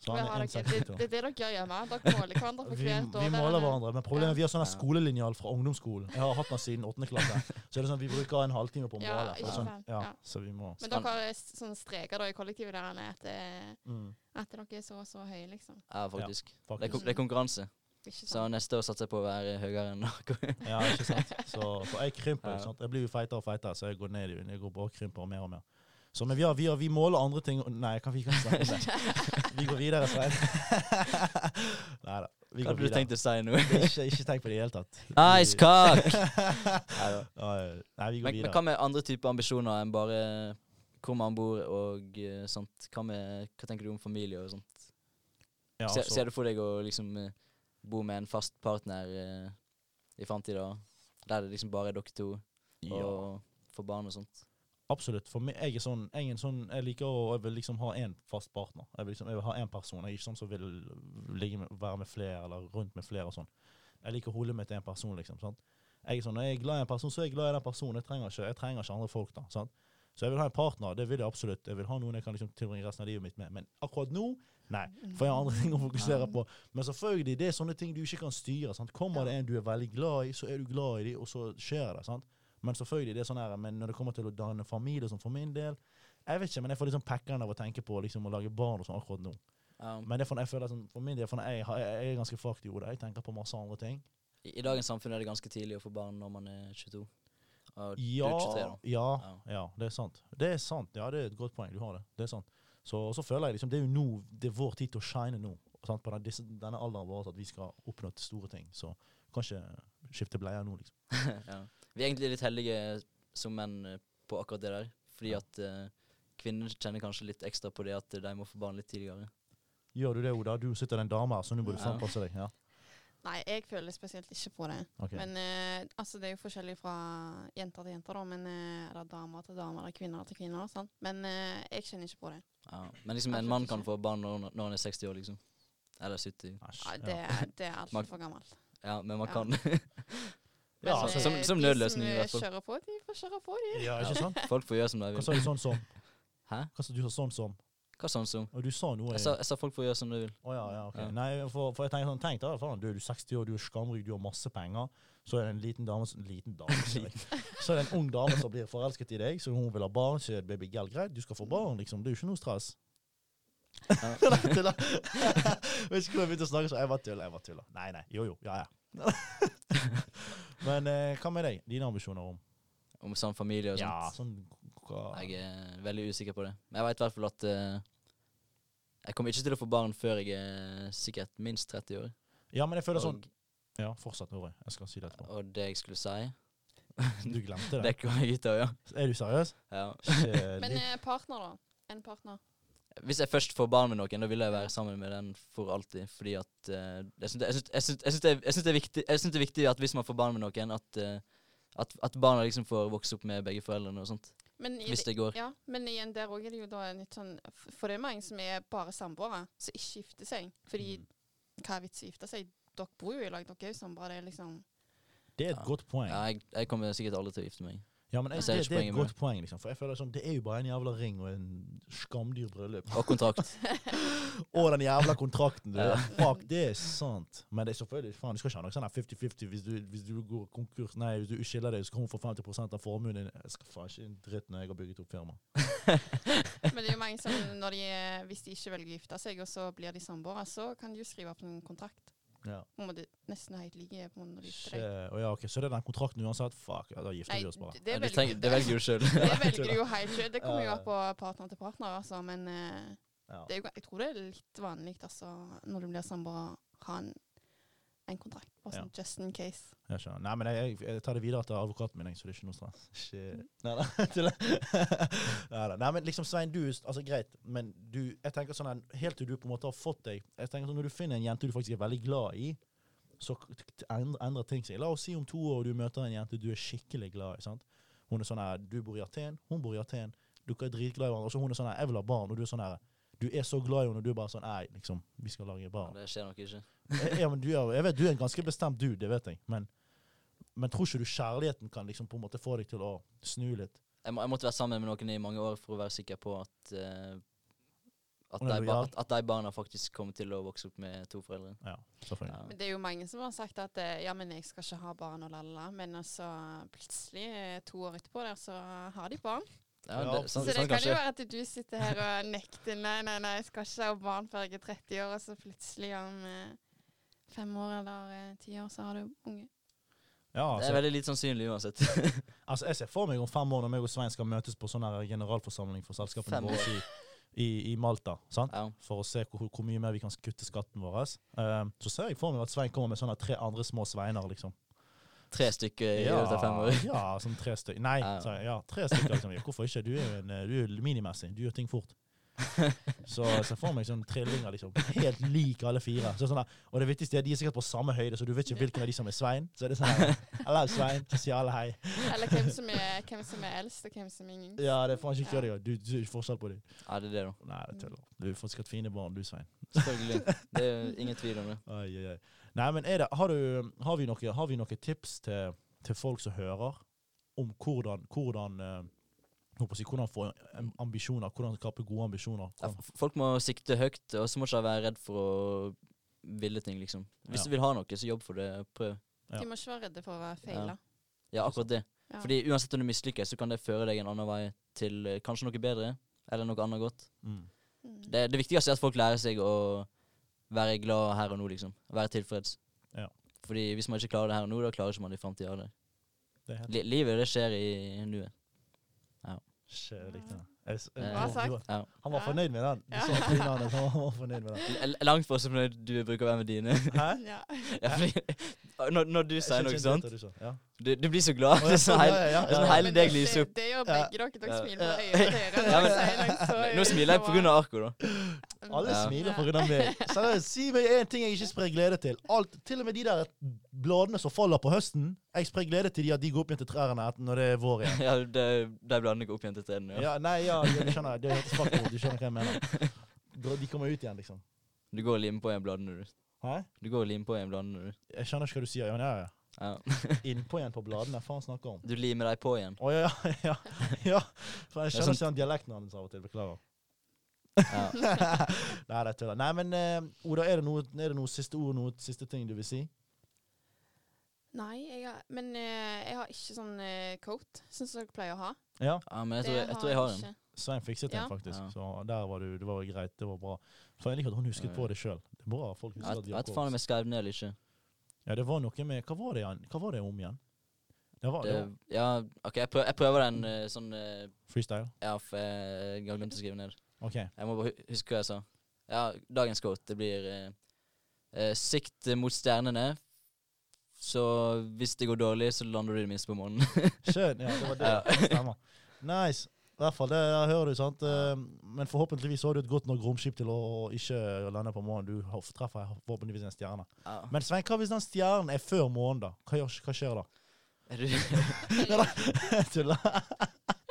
Speaker 2: Så
Speaker 3: Hva
Speaker 2: han
Speaker 3: har
Speaker 2: er
Speaker 3: dere- Det
Speaker 2: 1,62.
Speaker 3: det er det dere gjør hjemme. Dere måler hverandre for
Speaker 2: Vi,
Speaker 3: hvert
Speaker 2: vi
Speaker 3: år. der
Speaker 2: måler
Speaker 3: er-
Speaker 2: hverandre, men problemet er vi har sånn
Speaker 1: Ja.
Speaker 2: skolelinjal fra ungdomsskolen. Jeg har hatt den siden 8. klasse. Så er det sånn at vi bruker en halvtime på å
Speaker 3: Ja,
Speaker 2: måle.
Speaker 3: ikke
Speaker 2: sånn,
Speaker 3: sant.
Speaker 2: ja,
Speaker 3: Ja.
Speaker 2: så vi må
Speaker 3: Men dere har s- sånne streker da, i kollektivet der Anne, at, eh,
Speaker 2: mm,
Speaker 3: at dere er så og så høye, liksom.
Speaker 1: ja, faktisk. Det er,
Speaker 2: faktisk.
Speaker 1: kon- det er konkurranse.
Speaker 3: Ikke
Speaker 1: Så
Speaker 3: sånn.
Speaker 1: neste år satser jeg på å være høyere enn dere.
Speaker 2: Ja, ikke sant. Så, for jeg krymper.
Speaker 1: Ja.
Speaker 2: Ikke sant? Jeg blir jo feitere og feitere, så jeg går ned i Jeg går bare og krymper mer og mer. Så, men vi, har, vi, har, vi måler andre ting Nei, kan vi ikke snakke om det. Vi går videre, Svein. Nei da. Vi
Speaker 1: Hva
Speaker 2: går
Speaker 1: hadde du
Speaker 2: videre.
Speaker 1: tenkt å si nå?
Speaker 2: Ikke, ikke tenk på det i det hele tatt.
Speaker 1: Nice
Speaker 2: Vi-
Speaker 1: cock!
Speaker 2: Ja, ja. Nei, vi
Speaker 1: Men,
Speaker 2: går
Speaker 1: men
Speaker 2: videre.
Speaker 1: hva med andre typer ambisjoner enn bare hvor man bor og eh, sånt? Hva, med, hva tenker du om familie og sånt?
Speaker 2: Ja,
Speaker 1: ser,
Speaker 2: altså,
Speaker 1: ser du for deg å liksom eh, bo med en fast partner eh, i framtida? Der det liksom bare er dere to,
Speaker 2: ja,
Speaker 1: og får barn og sånt?
Speaker 2: absolutt. For meg, jeg er sånn, jeg, er en sånn, jeg liker å jeg vil liksom ha én fast partner. Jeg vil, liksom, jeg vil ha én person. Jeg er ikke sånn som vil ligge med, være med flere eller rundt med flere og sånn. Jeg liker å holde meg til én person, liksom. sant? Jeg er sånn, Når jeg er glad i en person, så er jeg glad i den personen. Jeg trenger ikke, jeg trenger ikke andre folk. da, sant? Så jeg vil ha en partner. det vil Jeg absolutt. Jeg vil ha noen jeg kan liksom tilbringe resten av livet mitt med. Men akkurat nå nei. For jeg har andre ting å fokusere på. Men selvfølgelig, det er sånne ting du ikke kan styre. sant? Kommer det en du er veldig glad i, så er du glad i dem, og så skjer det. sant? Men selvfølgelig, det er sånn her, men når det kommer til å danne sånn familie, som for min del Jeg vet ikke, men jeg får liksom pekkeren av å tenke på liksom, å lage barn og sånn akkurat nå.
Speaker 1: Ja.
Speaker 2: Men det er for, jeg føler sånn, for min del for jeg, har- jeg, jeg er ganske fucked i hodet. Jeg tenker på masse andre ting.
Speaker 1: I, I dagens samfunn er det ganske tidlig å få barn når man er 22. Og du
Speaker 2: Ja,
Speaker 1: er 23 da.
Speaker 2: ja,
Speaker 1: Ja.
Speaker 2: ja, det er sant. Det er sant, ja, det er et godt poeng. Du har det. Det er sant. Så, og så føler jeg liksom, det er jo nå, det er vår tid til å shine nå. Sant? På den, disse, denne alderen vår, at vi skal oppnå til store ting. Så kanskje skifte bleier nå, liksom.
Speaker 1: ja. Vi er egentlig litt heldige som menn eh, på akkurat det der. Fordi
Speaker 2: Ja.
Speaker 1: at eh, kvinner kjenner kanskje litt ekstra på det at eh, de må få barn litt tidligere.
Speaker 2: Gjør du det, Oda? Du sitter den dame her, så nå må du
Speaker 1: Ja.
Speaker 2: frampasse deg. Ja.
Speaker 3: Nei, jeg føler spesielt ikke på det.
Speaker 2: ok.
Speaker 3: Men eh, altså, det er jo forskjellig fra jenter til jenter, da. Men, eh, eller damer til damer, eller kvinner til kvinner. Sant? Men eh, jeg kjenner ikke på det.
Speaker 1: Ja. Men liksom en
Speaker 3: Absolutt
Speaker 1: mann kan
Speaker 3: ikke.
Speaker 1: få barn når, når han er 60 år, liksom. Eller 70.
Speaker 2: Æsj,
Speaker 3: Ja,
Speaker 2: ja.
Speaker 3: det, det er
Speaker 1: Man-
Speaker 3: altfor gammelt.
Speaker 1: Ja, men man
Speaker 3: Ja.
Speaker 1: kan
Speaker 2: Ja,
Speaker 3: Men,
Speaker 2: altså,
Speaker 3: eh,
Speaker 1: som- som nødløsning i
Speaker 3: de
Speaker 1: hvert fall.
Speaker 3: som eh, kjører på, de får kjøre på, de.
Speaker 2: ja, ikke sant?
Speaker 1: Folk får gjøre som de
Speaker 2: Hva
Speaker 1: vil.
Speaker 2: sa du sånn som?
Speaker 1: Hæ?
Speaker 2: Hva sa du sånn som?
Speaker 1: Hva sånn som?
Speaker 2: Og du sa noe
Speaker 1: Jeg sa, jeg sa folk får gjøre som de vil.
Speaker 2: Å ja, ja, ok.
Speaker 1: Ja.
Speaker 2: Nei, for, for jeg tenker sånn, tenk da, faen, du er du 60 år, du er skamrygg, du har masse penger. Så er det en liten dame som liten dame, sier jeg. Så er det en ung dame som blir forelsket i deg, så hun vil ha barn, så er det baby gell greit, du skal få barn, liksom. Det er jo ikke noe stress.
Speaker 1: Ja.
Speaker 2: Nei, tulla. Hvis ikke jeg begynte å snakke, så jeg var tulla, jeg var tulla. Nei, nei, jo, jo, ja, ja. Men eh, hva med deg? Dine ambisjoner om?
Speaker 1: Om sånn familie og sånt.
Speaker 2: Ja, sånn hva?
Speaker 1: Jeg er veldig usikker på det. Men jeg veit i hvert fall at eh, jeg kommer ikke til å få barn før jeg er sikkert minst 30 år.
Speaker 2: Ja, men jeg føler sånn
Speaker 1: Og,
Speaker 2: Ja, fortsett, Nore. Jeg skal si det etterpå.
Speaker 1: og det jeg skulle si
Speaker 2: Du glemte det.
Speaker 1: Det kom jeg ut av, ja.
Speaker 2: Er du seriøs?
Speaker 1: ja.
Speaker 3: Men
Speaker 2: Kjedelig.
Speaker 3: eh, partner, da. En partner.
Speaker 1: Hvis jeg først får barn med noen, da vil jeg være sammen med den for alltid. Fordi at eh, Jeg syns det, jeg syns- jeg syns- jeg syns det, er- jeg syns det, er viktig- jeg syns det er viktig at hvis man får barn med noen, at, eh, at, at barna liksom får vokse opp med begge foreldrene og sånt.
Speaker 3: Men i,
Speaker 1: Hvis det går.
Speaker 3: ja, men igjen, der òg er det jo da en litt sånn f- For det er mange som er bare samboere, som ikke gifter seg. Fordi
Speaker 2: Mm.
Speaker 3: hva er vitsen i å gifte seg? Dere bor jo i lag, dere er jo samboere. Det er liksom
Speaker 2: Det er et
Speaker 1: Ja.
Speaker 2: godt poeng.
Speaker 1: Ja, jeg, jeg kommer sikkert aldri til å gifte meg.
Speaker 2: Ja, men jeg,
Speaker 1: Jeg ser
Speaker 2: det,
Speaker 1: ikke
Speaker 2: det er et
Speaker 1: poenget med
Speaker 2: godt poeng, liksom. For jeg føler sånn, det er jo bare en jævla ring og en skamdyr bryllup.
Speaker 1: Og kontrakt.
Speaker 2: Og den jævla kontrakten, du.
Speaker 1: Ja.
Speaker 2: Fuck, det er sant. Men det er selvfølgelig, faen, du skal ikke ha noe sånn her 50-50 hvis, du- hvis du går konkurs, nei, hvis du skiller deg, så kan hun få 50 av formuen din. Jeg skal faen ikke en dritt når jeg har bygget opp firma.
Speaker 3: Men det er jo mange som når de, er- hvis de ikke velger å gifte seg, og så blir de samboere, så kan de jo skrive opp en kontrakt.
Speaker 2: Ja.
Speaker 3: På en måte nesten helt like på en måte når de gifter
Speaker 2: Ikke,
Speaker 3: deg.
Speaker 2: og ja, ok, så det er den kontrakten uansett. Fuck, ja, da
Speaker 3: Nei,
Speaker 2: gifter vi oss bare.
Speaker 3: d- det
Speaker 1: Ja, du
Speaker 3: velger,
Speaker 1: trenger- det velger du sjøl.
Speaker 3: det velger du jo helt sjøl. Det kommer jo
Speaker 2: Ja.
Speaker 3: an på partner til partner, altså. Men eh,
Speaker 2: Ja.
Speaker 3: det er jo, jeg tror det er litt vanlig altså, når du blir samboer, ha en, en kontrakt. Bare sånn just in case.
Speaker 2: Jeg skjønner. Nei, men jeg, jeg, jeg tar det videre til advokaten min, jeg, så det er ikke noe stress. Shit. Nei, nei, tuller. Nei, nei. nei, men liksom Svein, du altså greit, men du jeg tenker sånn her, Helt til du på en måte har fått deg jeg tenker sånn, Når du finner en jente du faktisk er veldig glad i, så k- t- end- endrer ting seg. La oss si om to år du møter en jente du er skikkelig glad i. sant? Hun er sånn her, Du bor i Aten, hun bor i Aten. Dere er dritglade i hverandre. Og så hun er sånn her, jeg vil ha barn. Og du er sånn her, du er så glad i henne, og du er bare sånn Nei, liksom, vi skal lage barn.
Speaker 1: Det skjer nok ikke.
Speaker 2: Ja, men du er, jeg vet du er en ganske bestemt dude, det vet jeg. Men, men tror ikke du kjærligheten kan liksom på en måte få deg til å snu litt?
Speaker 1: Jeg, må, jeg måtte være sammen med noen i mange år for å være sikker på at eh, at,
Speaker 2: Hun er
Speaker 1: de, ba-
Speaker 2: lojal.
Speaker 1: at, at de barna faktisk kommer til å vokse opp med to foreldre.
Speaker 2: Ja, selvfølgelig.
Speaker 1: Ja.
Speaker 3: Men det er jo mange som har sagt at eh, ja, men jeg skal ikke ha barn og lalla, men altså plutselig, eh, to år etterpå der, så har de barn.
Speaker 1: Ja,
Speaker 2: Ja,
Speaker 1: det, sånn,
Speaker 3: så det
Speaker 1: sånn
Speaker 3: kan jo
Speaker 1: kanskje.
Speaker 3: være at du sitter her og nekter nei, nei, nei, jeg skal ikke ha barn før jeg er 30 år, og så plutselig om eh, fem år eller eh, ti år så har du unge.
Speaker 1: Det
Speaker 2: Ja,
Speaker 1: er
Speaker 2: altså,
Speaker 1: veldig lite sannsynlig uansett.
Speaker 2: altså, jeg ser for meg om fem år når meg og Svein skal møtes på sånn her generalforsamling for selskapene
Speaker 1: Fem
Speaker 2: våre i, i, i Malta. sant?
Speaker 1: Ja.
Speaker 2: For å se hvor, hvor mye mer vi kan kutte skatten vår. Eh, så ser jeg for meg at Svein kommer med sånne tre andre små Sveiner, liksom.
Speaker 1: Tre stykker i løpet av fem år.
Speaker 2: ja, sånn tre stykker. Nei,
Speaker 1: Ja.
Speaker 2: sa jeg, ja, tre stykker. Liksom. Ja, Hvorfor ikke? Du er jo en, eh, du er jo minimessig. Du gjør ting fort. Så jeg ser for meg sånn trillinger, liksom. Helt lik alle fire. Så sånn der, og det viktigste er at de er sikkert på samme høyde, så du vet ikke hvilken av de som er Svein. Så er det sånn her, Eller Svein, så sier alle hei.
Speaker 3: Eller hvem som er, hvem som er eldst, og hvem som er yngst.
Speaker 2: Ja, det er faen ikke kødd engang. Du du ser ikke forskjell på dem.
Speaker 1: Ja, det er det, da.
Speaker 2: Nei, det tuller. Du får sikkert fine barn, du, Svein.
Speaker 1: Selvfølgelig. Det er jo ingen tvil om det.
Speaker 2: Oi, oi, oi. Nei, men er det, har, du, har, vi noe, har vi noe tips til, til folk som hører, om hvordan, hvordan, eh, jeg håper å si, hvordan få em- ambisjoner, hvordan skape gode ambisjoner?
Speaker 1: Ja,
Speaker 2: Hvordan,
Speaker 1: f- folk må sikte høyt, og så må ikke de være redd for å ville ting, liksom. Hvis
Speaker 2: Ja.
Speaker 1: du vil ha noe, så jobb for det. Prøv.
Speaker 2: Ja.
Speaker 3: De må ikke være redde for å feile.
Speaker 1: Ja, akkurat det.
Speaker 3: Ja.
Speaker 1: Fordi uansett om du mislykkes, så kan det føre deg en annen vei til eh, kanskje noe bedre, eller noe annet godt.
Speaker 2: mm.
Speaker 3: Mm.
Speaker 1: Det, det viktigste er at folk lærer seg å være glad her og nå, liksom. Være tilfreds.
Speaker 2: Ja.
Speaker 1: Fordi hvis man ikke klarer det her og nå, da klarer ikke man det i framtida heller.
Speaker 2: Det er helt
Speaker 1: Li livet, det skjer i nuet.
Speaker 2: Skjer riktig. da. Jeg s-
Speaker 1: Bra
Speaker 2: Johan-
Speaker 3: sagt.
Speaker 2: Johan-
Speaker 1: Ja.
Speaker 2: Han var
Speaker 3: Ja.
Speaker 2: fornøyd med den. Du så han trynet hans, han var fornøyd med den.
Speaker 1: L- l- Langt fra så fornøyd du bruker å være med dine.
Speaker 2: Hæ?
Speaker 3: Ja.
Speaker 1: ja, fordi, når, når du sier noe
Speaker 2: Jeg
Speaker 1: sånt,
Speaker 2: skjønte ikke helt det du sa. Ja.
Speaker 1: du, du blir så glad.
Speaker 2: Å,
Speaker 1: Det
Speaker 2: ja,
Speaker 1: er sånn
Speaker 2: sånn,
Speaker 1: heil,
Speaker 2: ja, ja,
Speaker 1: det er sånn
Speaker 2: ja, ja.
Speaker 1: hele deg lyser opp.
Speaker 3: Det, det gjør
Speaker 2: Ja.
Speaker 3: begge dere.
Speaker 1: Ja.
Speaker 2: Ja.
Speaker 3: Dere smiler med øynene deres.
Speaker 1: Ja, men-
Speaker 3: Så jeg liksom så-
Speaker 1: Nå smiler jeg pga. arket, da.
Speaker 2: Alle
Speaker 1: Ja.
Speaker 2: smiler pga. meg. Seriøst, si meg én ting jeg ikke sprer glede til. Alt, til og med de der bladene som faller på høsten. Jeg sprer glede til de at de går opp igjen til trærne etter- når det er vår igjen.
Speaker 1: Ja, det, De blander ikke opp igjen til trærne. Ja.
Speaker 2: Ja, nei, ja, ja, du skjønner. Det hørtes svakt ut. Du skjønner hva jeg mener. Dra- De kommer ut igjen, liksom.
Speaker 1: Du går og limer på igjen bladene, du.
Speaker 2: Hæ?
Speaker 1: Du går og limer på igjen bladene, du.
Speaker 2: Jeg skjønner ikke hva du sier. Ja, men ja, ja.
Speaker 1: Ja.
Speaker 2: Innpå igjen på bladene. Faen snakker om.
Speaker 1: Du limer deg på igjen.
Speaker 2: Å ja, ja, ja. ja. For jeg
Speaker 1: Det er sånn-
Speaker 2: skjønner ikke den dialekten hans av og til. Beklager.
Speaker 1: Ja.
Speaker 2: Nei, det er tuller. Nei, men eh, Oda, er det noe, er det noe siste ord, noe siste ting du vil si?
Speaker 3: Nei, jeg har, men eh, jeg har ikke sånn eh, coat, sånn som dere pleier å ha.
Speaker 2: Ja.
Speaker 1: ja, men jeg tror jeg, jeg, tror jeg har en.
Speaker 3: ikke.
Speaker 2: Svein fikset den
Speaker 3: Ja.
Speaker 2: faktisk.
Speaker 1: Ja.
Speaker 2: Så der var du, det var greit. Det var bra. For jeg liker at hun husket
Speaker 1: Ja, ja.
Speaker 2: på det sjøl. Det er bra at folk
Speaker 1: Jeg
Speaker 2: husker
Speaker 1: vet-
Speaker 2: at de
Speaker 1: jeg
Speaker 2: har
Speaker 1: vet faen om
Speaker 2: korps.
Speaker 1: jeg skrev det ned eller ikke.
Speaker 2: Ja, det var noe med Hva var det, igjen? Hva var det om igjen? Det var, det
Speaker 1: Det,
Speaker 2: var
Speaker 1: Ah, ja, ok, jeg prøver, jeg prøver den eh, sånn eh,
Speaker 2: freestyle.
Speaker 1: Ja, for jeg, jeg har glemt å skrive ned.
Speaker 2: OK.
Speaker 1: Jeg må bare hu- huske hva jeg sa. Ja, dagens quote, det blir eh, eh, Sikt mot stjernene, så hvis det går dårlig, så lander du i det minste på månen.
Speaker 2: Skjønn. Ja, det var det.
Speaker 1: Ja.
Speaker 2: Det stemmer. Nice. I hvert fall, det der hører du, sant. Eh, Men forhåpentligvis har du et godt nok romskip til å å ikke lande på månen. Du har- treffer forhåpentligvis en stjerne.
Speaker 1: ja.
Speaker 2: Men Svein, hva hvis den stjernen er før månen, da? Hva, gjør, hva skjer da?
Speaker 1: Er du,
Speaker 2: Tuller.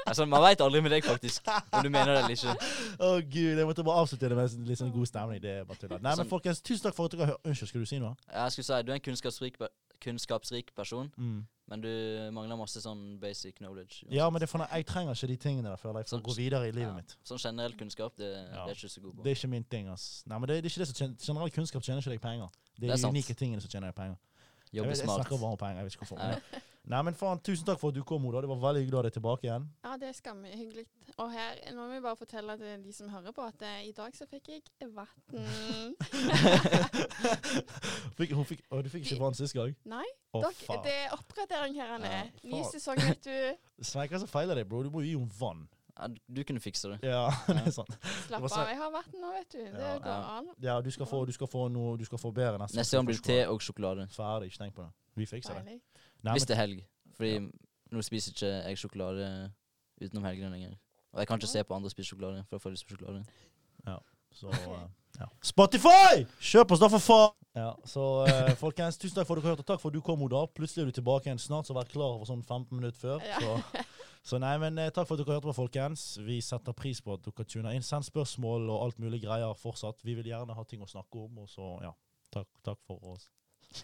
Speaker 1: altså, man veit aldri med deg, faktisk, om du mener det eller ikke.
Speaker 2: Å gud, jeg måtte bare avslutte det med en litt sånn god stemning. Det er bare tull. Nei, men
Speaker 1: Sånn.
Speaker 2: folkens, tusen takk for at dere har Unnskyld, skulle du si noe?
Speaker 1: Jeg skulle si du er en kunnskapsrik, pe- kunnskapsrik person,
Speaker 2: Mm.
Speaker 1: men du mangler masse sånn basic knowledge.
Speaker 2: Ja, men det er for, jeg trenger ikke de tingene der, føler jeg, for
Speaker 1: Sånn-
Speaker 2: å gå videre i livet
Speaker 1: Ja.
Speaker 2: mitt.
Speaker 1: Sånn generell kunnskap, det, det
Speaker 2: Ja.
Speaker 1: er jeg ikke så god på.
Speaker 2: Det er ikke min ting, ass. Nei, men det er, det er ikke det som tjener, Generell kunnskap tjener ikke deg penger. Det
Speaker 1: Det
Speaker 2: er
Speaker 1: er
Speaker 2: de
Speaker 1: sant.
Speaker 2: unike tingene som tjener deg penger. Jeg,
Speaker 1: Jobbe
Speaker 2: vet- jeg
Speaker 1: smart.
Speaker 2: snakker bare om penger, jeg vet ikke hvorfor.
Speaker 1: Ja.
Speaker 2: men- Nei, men faen, tusen takk for at du kom, Oda. Det var veldig hyggelig å ha deg tilbake igjen.
Speaker 3: Ja, det er skamhyggelig. Og her, nå må vi bare fortelle til de som hører på, at eh, i dag så fikk jeg vann.
Speaker 2: Fikk, hun fikk, å, du fikk ikke vann sist gang?
Speaker 3: Nei,
Speaker 2: Å,
Speaker 3: Dere,
Speaker 2: faen.
Speaker 3: det er oppgradering her, Anne.
Speaker 1: Ja,
Speaker 3: Ny
Speaker 2: faen.
Speaker 3: sesong, vet du.
Speaker 2: Svein, hva er det som feiler deg, bro? Du må jo gi henne vann.
Speaker 1: Ja, du kunne fikse det.
Speaker 2: Ja, det er sant.
Speaker 3: Slapp
Speaker 2: Det var så-
Speaker 3: av, jeg har vann nå, vet du. Det
Speaker 2: Ja.
Speaker 3: går an.
Speaker 2: Ja, du skal få, du skal få noe, du skal få bedre neste
Speaker 1: Neste gang blir det te og sjokolade.
Speaker 2: Ferdig, ikke tenk på det. Vi fikser det.
Speaker 3: Deilig.
Speaker 2: Nei,
Speaker 1: Hvis
Speaker 2: men,
Speaker 1: det er helg. Fordi
Speaker 2: Ja.
Speaker 1: nå spiser ikke jeg sjokolade utenom helgene lenger. Og jeg kan ikke se på andre spise sjokolade, for da får jeg lyst på sjokolade.
Speaker 2: så, eh, ja. Spotify! Kjøp oss da, for faen! Ja, så eh, folkens, tusen takk for at dere hørte. Takk for at du kom, Oda. Plutselig er du tilbake igjen snart, så vær klar for sånn 15 minutter før.
Speaker 3: Ja.
Speaker 2: Så, så nei, men eh, takk for at dere hørte på, folkens. Vi setter pris på at dere tuner inn. Send spørsmål og alt mulig greier fortsatt. Vi vil gjerne ha ting å snakke om, og så ja. Takk, takk for oss.